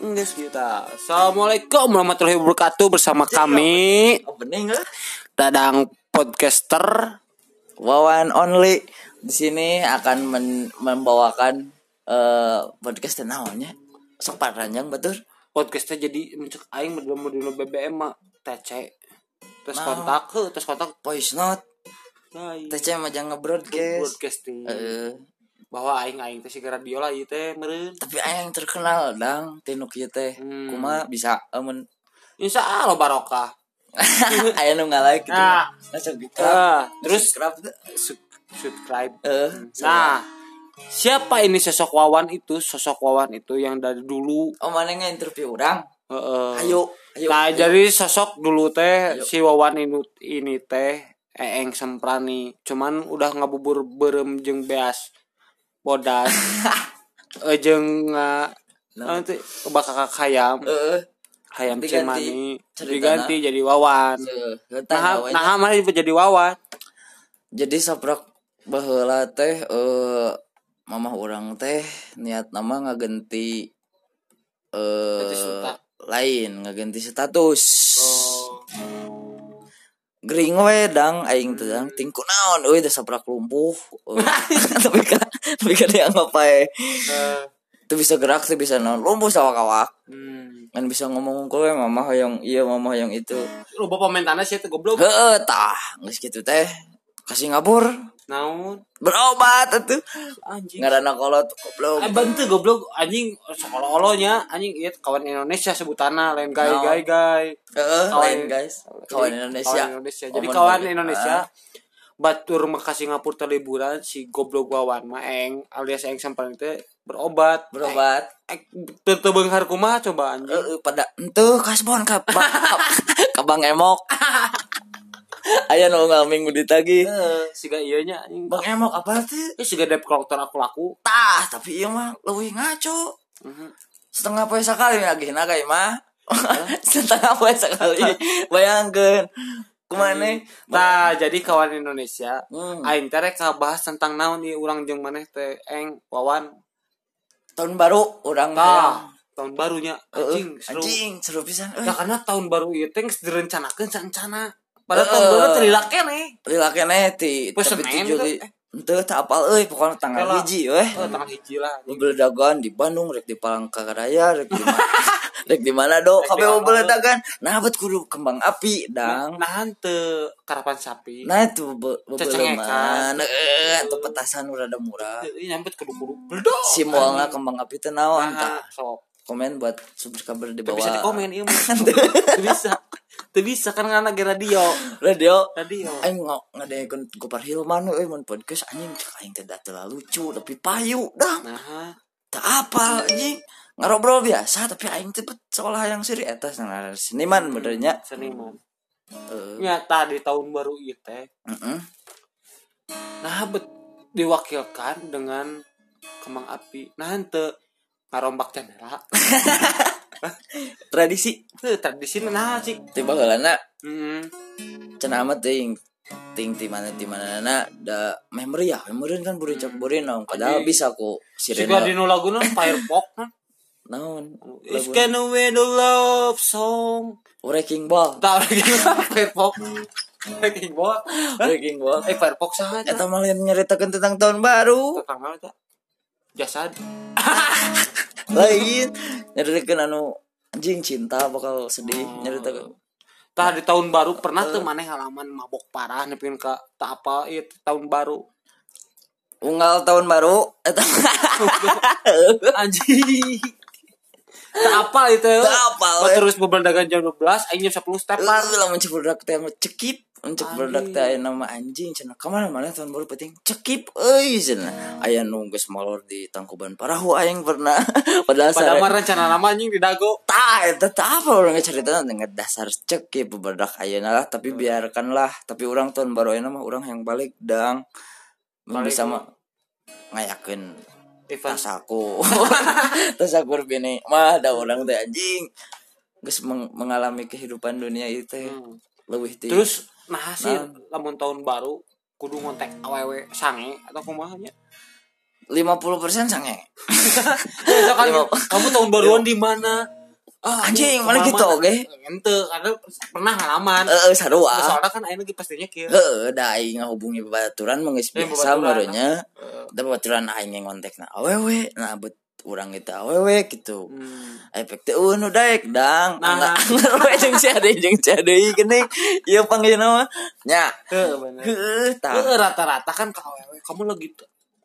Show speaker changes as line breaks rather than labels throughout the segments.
Ngedes kita. Assalamualaikum warahmatullahi wabarakatuh bersama
Iya,
kami
opening lah.
Dadang podcaster
Wawan only di sini akan men- membawakan eh, podcast tenaonnya. Sok panjang betul.
podcastnya jadi mencek aing berdua berdua BBM mah TC terus
Nah.
kontak heuh, terus kontak
Voice note,
Hai.
TC majang ngebroadcast.
podcasting
Eh,
bahwa aing aing teh sigara radio lah ieu teh meureun
tapi ayang terkenal dang tinuk ieu teh.
Hmm.
Kuma bisa eh, amun
insya Allah barokah
aya nu ngalaik gitu.
Nah.
Masuk gitu.
Ah, terus
Terus kerap tuh.
sub- subscribe
Eh,
nah siapa ini sosok Wawan itu sosok Wawan itu yang dari dulu
oh mana nge-interview orang?
heeh.
Ayo, ayo.
nah jadi sosok dulu teh
Ayo.
si Wawan ini, ini teh Eeng Semprani cuman udah ngabubur berem jeung beas bodas Eh, jeung anu nga-
Nah.
nanti kebakak hayam
Heeh.
hayam
Eh, Diganti
cimani
ceritana.
diganti jadi Wawan
eh,
nah nah
Nah,
mana jadi Wawan
jadi saprak baheula teh eh mamah orang teh niat nama ngagenti
Ganti
eh
suta. Oh.
lain ngagenti status Oh. gering we dang aing teh dang ting kunaon euy teh saprak lumpuh Eh, tapi kan tapi kan dianggap ae
Eh,
teu bisa gerak teu bisa naon lumpuh sawak-awak
hmm.
kan bisa ngomong ungkul we mamah hoyong ieu mamah hoyong itu
lu bapak mentana sih teh goblok
heeh tah geus kitu teh kasih ngabur
naon
berobat atuh
anjing
ngarana kolot goblok
Eh bantu goblok anjing sekolah-olonya anjing ieu kawan Indonesia sebutana lain gai
Naon?
gai gai
Heeh,
Kawan-
lain guys. Kawan
Jadi,
Indonesia.
kawan Indonesia. Jadi
Omon
kawan
balik.
Indonesia
Ah,
batur meka Singapura liburan si goblok wawan mah eng alias eng sampean teh berobat.
berobat.
Eh, Tetebenghar kumaha coba
Eh,
anjing.
eh, pada ente kasbon ka ba- ka- ka Bang Emok. Aya nu ngalming minggu ditagi.
Siga ieu nya anjing.
Bang Emok apa
Eh,
tuh?
siga debt collector aku laku.
Tah, tapi ieu mah leuwih ngaco.
Mhm.
Setengah poe sakali lagi na kayak mah. Setengah poe sakali. Bayangkeun. Kumaneh
Nah, Eh, jadi kawan Indonesia
Hmm.
Aing teh rek bahas tentang naon ieu urang jeung maneh teh eng wawan
tahun baru orang
tah tahun barunya anjing seru.
anjing Ah. Eh, anjing seru pisan euy.
Ya karena tahun baru ieu teh geus direncanakeun sancana. Padahal
Eh.
tahun baru Eh, terilak keneh.
lila kene ti
Poe
tapi
Senen
tujuh
gitu,
li
eh.
ente tak apal euy pokoknya
Ela.
tanggal hiji weh
Oh, tanggal hiji lah.
bebeledagan di Bandung rek di Palangkaraya rek di mana rek di mana
Rek
do
di
kabeh
mana?
bebeledagan nah bet kudu kembang api dang
Nah, hante karapan sapi.
nah itu be-
Cecengekan.
bebeleman eh atau petasan udah ada murah
Ini nyambut kudu kudu. Bledok.
si mualna kembang api teh naon tah
Nah, sok.
komen buat subscriber di
Teu bisa
bawah
dikomen ieu mah. Teu bisa. Teu bisa kan karena ge radio.
radio
Radio.
Aing ngok ngadain Gopar Hilman euy mun podcast anjing cek aing teh da teu lah lucu tapi payu dah
Nah,
tak apa anjing ngobrol biasa tapi aing teh bet seolah yang siri atas nah seniman benernya
seniman.
Eh,
Nyata di tahun baru ieu teh.
mm-mm.
Nah, bet diwakilkan dengan kembang api. Nah, hante ngarombak jendela.
tradisi
Teu tradisi nah Mm-hmm. cik.
tiba heulana
Heeh.
cenah amat ting ting ti mana ti mana na da meh meriah meh meureun kan buru cak buri naon padahal
Anjing.
bisa ku
Siga
sirena
dinu lagu nu Firefox.
naon
It's
lagu-
gonna win the love song.
wrecking ball
Tahu lagi Firefox. Breaking ball. Hah?
wrecking ball
Eh Firefox sama aja.
eta mah lain nyaritakeun tentang tahun baru
Tukang apa aja? Jasad.
lain nyaritakeun anu anjing cinta bakal sedih
Oh.
nyaritakeun
Tah di tahun baru pernah tuh maneh halaman mabok parah nepikeun ka tak apa itu tahun baru.
unggal tahun baru eta
Eh, Anjing. Tak apa itu.
Teu apal,
Bah,
eh.
Terus berbeladagan jam 12, aing jam 10 step.
Lah lamun cek produk teh mah cekip, mun cek produk
Anjing.
teh aya nama anjing cenah. Kamana mana tahun baru penting cekip euy cenah. Aya nu geus molor di Tangkuban Parahu aing pernah.
Padahal
Padahal sare
mah rencana nama anjing di dago.
tah eta tah apa urang carita dengan dasar cekip beberdak ayeuna lah
Hmm.
tapi biarkanlah. Tapi urang tahun baru ayeuna mah urang yang balik dang Mun
Balik
bisa
mah.
mah ngayakeun
Ivan.
tas aku. tas aku bini. Mah da urang teh anjing geus meng- mengalami kehidupan dunia itu teh.
Hmm.
Leuwih ti.
Terus nah sih lamun tahun baru kudu ngontek awewe sange atau kumahanya.
50% sange.
Misalkan
Lima-
kamu tahun baruan di mana? Ah,
Anjing,
aduh,
mana gitu Eh.
pengalaman.
oge.
Ente karena pernah ngalaman.
Heeh, sarua.
Soalnya kan ayeuna ge pastinya kieu.
Heeh, da aing ngahubungi babaturan mah geus
Eh,
biasa
babaturan.
barunya.
Heeh.
Da babaturan aing yang kontakna awewe. Nah, bet urang itu awewe gitu.
Hmm.
Efek teh unu daek dang.
Nah.
Nah, we jeung si ade jeung si ade geuning. Ieu panggilna mah nya.
Heeh, bener.
Heeh, tah.
Heeh, Eh, rata-rata kan kalau kamu lagi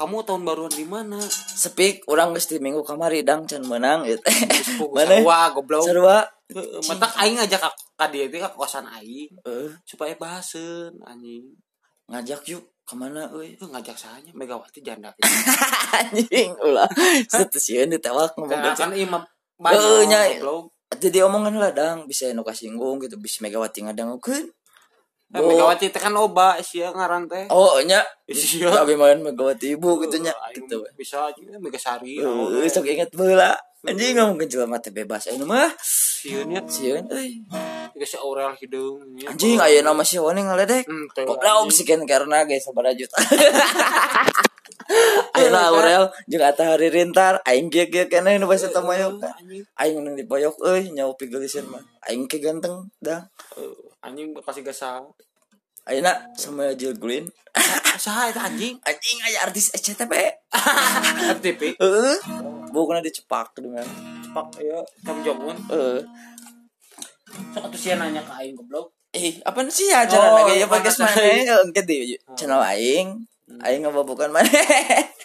kamu tahun baruan di mana?
Sepik urang geus di minggu kamari dang can meunang ah. ieu teh. Mana?
Wah, goblok.
Sarua.
Heeh, mentak aing ngajak ka- ka dia teh ka kosan aing
Heeh,
supaya bahaseun anjing.
Eh, ngajak yuk kemana euy?
Itu ngajak sahanya Megawati janda.
anjing ulah setusian ditewak ngomong
Karena
gitu
kan imam
Heeh, nya.
banyak goblok.
jadi omongan lah dang bisa nu kasinggung gitu bisa Megawati ngadangukeun
Eh, Megawati teh kan loba sia ngaran teh.
oh nya
Sia.
bagaimana Megawati ibu gitu nya
Ayo,
gitu we. Oh,
Bisa aja Megasari.
Eueuh, sok inget baheula anjing ngomong ke jelema teh bebas ayeuna mah
Siunnya
sieun euy
juga si Aurel hidung. ya.
anjing ayeuna mah si Wani ngaledek
Hmm, teu,
Pokoknya
anjing.
oksigen karena guys sabaraha juta Ayeuna Aurel jeung Atta Haririntar aing geuk-geuk keneh nu basa tamayo
Anjing.
aing nang dipoyok euy nyawa pigelisan mah aing ke ganteng dah
Eh, Anjing kasih gasal.
ayeuna sama Jill Green
Saha eta anjing?
anjing aya artis eh? SCTP
FTP.
heeh bukan dicepak dengan
Cepak ya Kim Jong Un.
heeh
Sok atuh sia nanya ke aing goblok.
eh apa sih ya
Oh,
acara lagi ya
bukan
podcast
acara.
mana engke di channel aing
Hmm.
aing ngababukan mana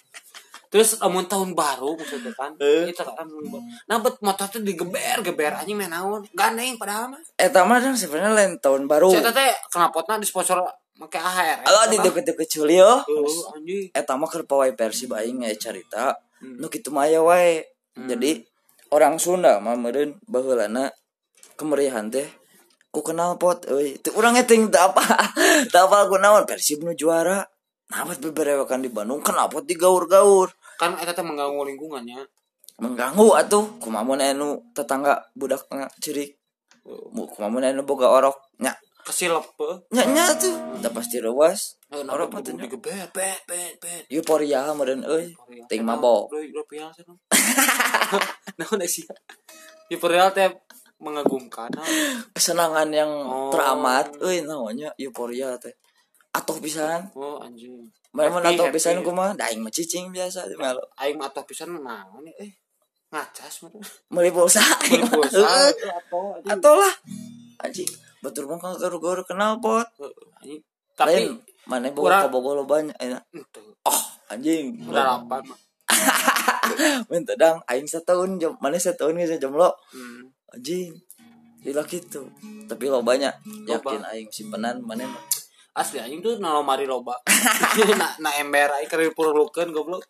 Terus amun tahun baru maksudnya kan.
Eh.
Itu kan amun baru. Nah bet motor teh digeber-geber anjing meh naon. Gandeng padahal mah.
eta mah Eh, dong sebenarnya lain tahun baru
Saya teh kenapotna disponsor make AHR.
kalau Oh. di deket-deket Julio
Heeh, anjing.
eta mah keur pawai Persib aing aya carita nu kitu mah aya wae jadi orang Sunda mah meureun baheulana kemeriahan teh ku kenal pot euy teu urang eta teu apa teu apa ku naon Persib nu juara Nabat beberewakan di Bandung kenapa digaur-gaur
Kan eta teh mengganggu lingkungannya.
mengganggu atuh kumamun anu tetangga budak na, cirik Mu- kumamun anu boga orok nya
Kesilep. eh.
nya nya tuh udah pasti rewas
Eh, nah, bet
orok mah teu nya.
digeber bet bet bet.
euforia meureun euy ting
Tenang,
mabok
bro, udah pial, tenang. Naon eh, sia? Ya, padahal teh mengagumkan. ah. nah.
kesenangan yang
Oh.
teramat euy naonnya euforia teh atuh pisan
Oh anjing.
Memang
Happy,
atau
happy.
pisan kumaha daing mah cicing biasa di malu
Aing mah atuh pisan naon ya, eh ngacas mah.
meuli pulsa
Beli pulsa
Heeh.
eh, atau anjing.
atuh lah anjing batur mah garu-garu kenal pot
Eh, anjing. Tapi
lain mana
Urang-
boga boga loban enak
ente,
oh anjing
dalapan mah.
minta dang aing setahun jam mana setahun geus jomblo
Hmm.
anjing Gila gitu Tapi lo banyak Yakin
Loba.
aing simpenan Mana mah
Asli anjing tuh nalomari loba. na, na ember aing keur dipurulukeun goblok.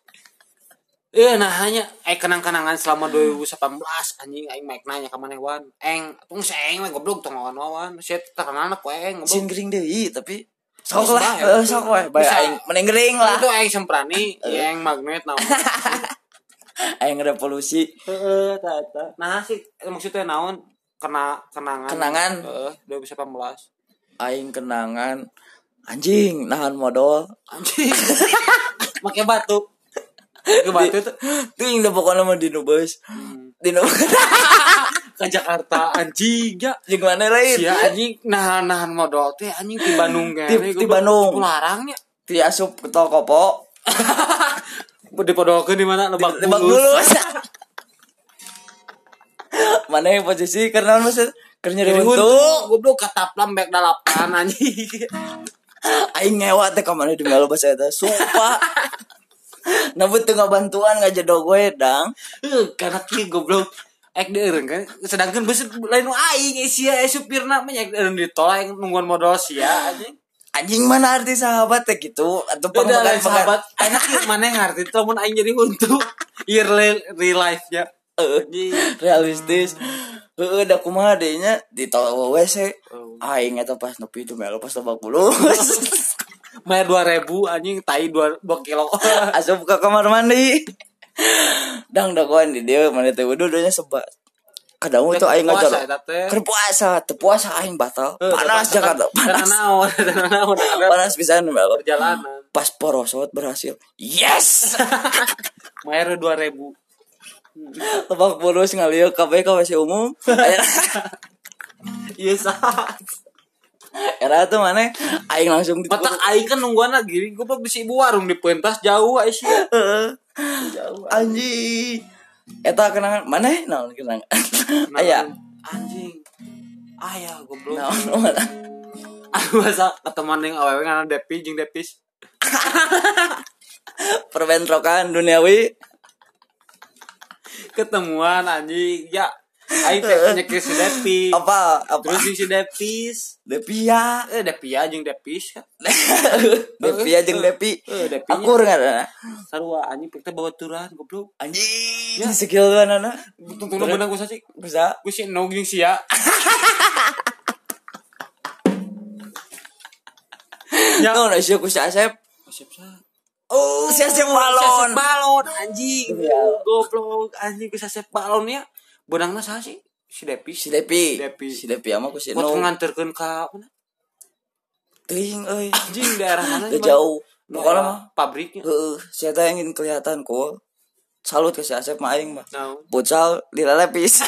Eh nah hanya aing kenang-kenangan selama 2018 anjing aing maik nanya ka manewan. Eng, tong si aing mah goblok tong lawan-lawan. Sia terkenalna ku aing goblok.
Cing gering deui Tapi
Bisa
Sok
bae.
lah eh, Sok lah Bae
Bisa.
aing Mending gering lah
Itu aing semprani, ya aing magnet naon.
Aing revolusi
Heeh, eta eta. Nah sih maksudnya naon kena kenangan.
Kenangan.
Heeh, 2018.
aing kenangan anjing nahan modal
Anjing. Make batu. Make batu tuh
tuh yang pokoknya mah di nubes
Hmm.
di nubes
ke Jakarta anjing ya.
jeung mana lain
Ya anjing nahan-nahan modal teh anjing di Bandung kan.
Di- di Bandung.
Larangnya.
ti asup ke toko po
Dipodolkeun di mana Lebak
tebak dulu mana yang posisi karena maksud kerja
Jadi
untuk
untung goblok kataplam back dalapan anjing.
aing ngewa teh ka mana di malu bahasa eta sumpah Namun tengah bantuan ngajak dog we dang
Heuh, karena Euh, kieu goblok ek di eureun kan sedangkan beuseut lain nu aing eh, sia eh, supirna mah nya eureun di tol aing nungguan modal sia anjing.
Anjing mana arti sahabat teh gitu Atau
Beda
pengbekan-
lain sahabat. Enak ieu maneh ngarti teu mun aing jadi untu. Ieu real real life nya.
Eh, realistis Heeh, da kumaha dehnya di tol WC
Oh.
aing eta pas nepi itu melo pas tebak bulus
Maya 2000 anjing tai 2 2 kilo.
asup ke kamar mandi dang dagoan di dia mana teh wudu doanya sebat kadang itu aing
Puasa,
ngajor
Kan eta teh.
keur puasa teu puasa aing batal panas Jakarta
Karena naon, karena naon ada
panas pisan melo
perjalanan.
pas porosot berhasil yes
Mayar dua ribu.
lebak boros ngalieu kabeh ka WC umum
Iya sah.
era tuh mana aing langsung di
Matak aing kan nungguan lagi. Gue mah bisi ibu warung di pentas jauh aing sih. Jauh.
anji eta kenangan mana eh? naon kenangan aya
Anjing. Ayah goblok.
naon mana
Aduh masa ketemuan yang awewe ngana Depi jeung Depis.
perbentrokan duniawi
Ketemuan anjing ya. Aing teh nyekir si Depi.
apa apa
Terus jeung si Depis.
depia
Eh Depi jeung Depis.
depia jeung depi
Eh, Depinya.
aku urang
Sarua anjing pikir bawa turan goblok.
anji ya. skill tuh anak
Tunggu benang gue sih.
bisa
Gue sih no jeung sia.
ya naon sih aku si Asep
Siap sah.
oh si Asep
Sasep
balon
balon anjing.
Iya.
Goblok anjing ku sasep balonnya. Benangna ya. saha sih? Si Depi.
si depi
Depi.
si depi ama ku si
Buat
no
nganterkeun ka mana?
teuing euy
Anjing daerah mana?
Teu jauh pokoknya mah
pabriknya.
heeh si eta yang ingin kelihatan kok salut ke si Asep mah aing mah
Nah,
pucal dilelepis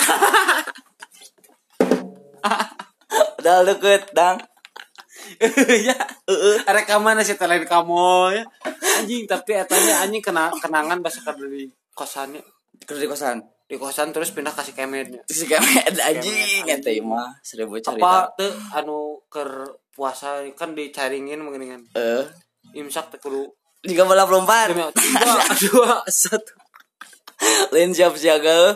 udah deket dang
ya. Rekaman sih lain kamu ya. Anjing tapi etanya anjing kena kenangan bahasa kada di kosannya.
kerja di kosan
Di kosan terus pindah kasih kemetnya.
si kemet anjing eta ieu mah seribu cerita
Apa teu anu ker puasa kan dicaringin mengeningan.
eh
Imsak teh kudu
jika bola pelompat
Demi- dua, dua, satu.
lain siap siaga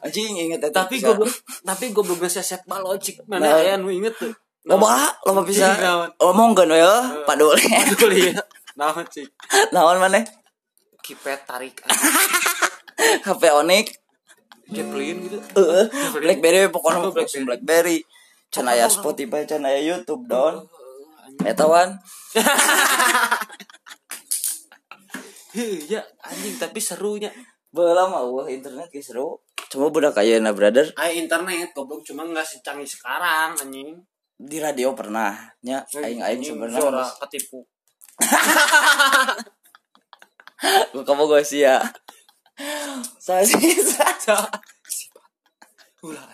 anjing inget eta
tapi
pisan.
gue tapi gue belum bisa set balon cik
Nah.
mana ya nu inget tuh
loba loba bisa
Naon.
omong kan ya padul
Aduh, iya. nah cik
naon maneh
kipet tarik
HP Onyx
Jacqueline gitu
eh,
Blackberry.
BlackBerry
Oh,
pokoknya langsung BlackBerry can aya Spotify can aya YouTube don eta wan
Heh, ya anjing tapi serunya
baheula mah wah internet ge seru coba budak ayeuna brother
ah internet goblok cuma nggak secanggih sekarang anjing
di radio pernah nya aing aing
suara
sebenarnya
ketipu
gua kamu gua sih ya saya sih
ulah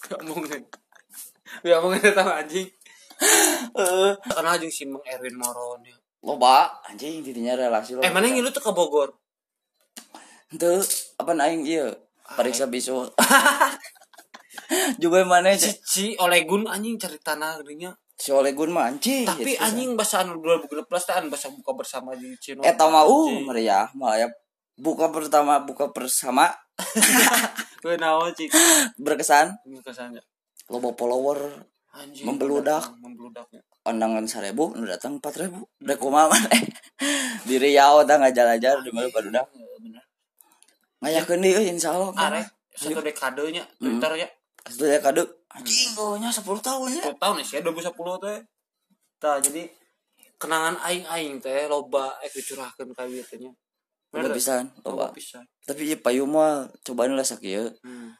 tuh ngomongin ya ngomongin tentang anjing
Eh,
kenal jeung si Mang Erwin Moron ya.
loba anjing dirinya relasi lo
eh mana ngilu tuh ke Bogor
Henteu, apa aing ieu
Ah,
periksa bisu juga mana si
Cici Olegun anjing cerita nagrinya
si Olegun mah anjing
tapi
gitu.
anjing bahasa anu 2016 teh anu bahasa buka bersama di Cina
eta mah uh
Anjing.
meriah malah ya buka pertama buka bersama
Gue naon cik
berkesan
kesannya.
loba follower
Anjing.
Membeludak.
Membeludaknya.
undangan seribu nu datang empat ribu udah kumaha mana di Riau tah ngajar-ajar di mana baru dah
Bener.
ngayakeun deui insya Allah
Arek satu dekadenya
Mm.
Twitter ya.
itu ya kadek anjing gonya sepuluh tahun ya
10 tahun ya, sih, 2010 teh. Tah jadi kenangan aing-aing teh loba eh dicurahkeun ka ieu teh nya. Bener,
udah pisan
Loba
loba
pisan.
tapi ieu payu mah cobaan lah sakieu
Hmm.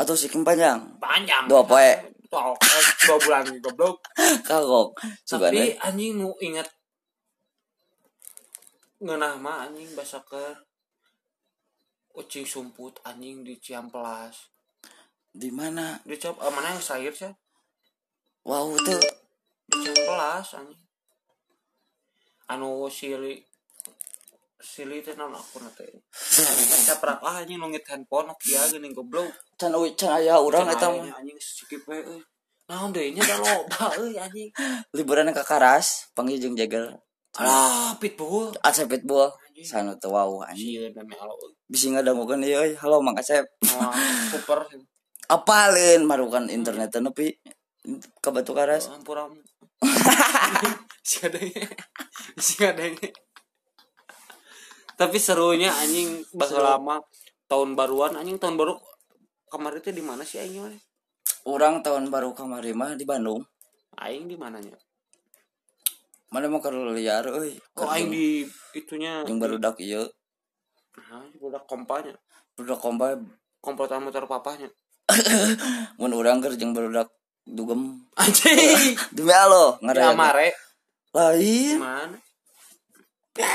atau sikim panjang
Panjang.
Dua poe.
Dua poe, dua bulan goblok.
kagok
Tapi
sugana
anjing nu inget ngeunah mah anjing basa keur ucing sumput anjing di Ciampelas.
di mana
Di Ciam- eh, mana yang sayur sih?
wow tuh
Di Ciampelas anjing. Anu sili sili teh naon aku nate. Kita perak ah anjing nungit handphone Nokia geuning goblok.
can can aya urang
Cenah
eta
aya nya,
mah
anjing sikip we euy. Naon deui nya da loba euy anjing.
liburan ka Karas panggil jeung Jagger
Alah Ah, pitbull.
Asep Pitbull sanu teu wow anjing
Sieun meme alo euy.
bisi ngadangukeun ieu euy halo Mang Asep
Ah, super.
apalin marukan internet teh nepi ka Batu Karas
Hampura. si adanya. Si adanya. Tapi serunya anjing bakal
Seru.
lama tahun baruan anjing tahun baru kemarin itu di mana sih aing mana?
urang tahun baru kamari mah di Bandung
Aing di mananya?
mana mau ke liar euy
Oh aing di itunya.
jeung barudak ieu
Nah, udah kompanya.
budak komba
Komplotan motor papahnya.
mun urang keur jeung barudak dugem
Anjing.
demi Allah
Di
ngaraya
Amare.
lain
Mana?
belas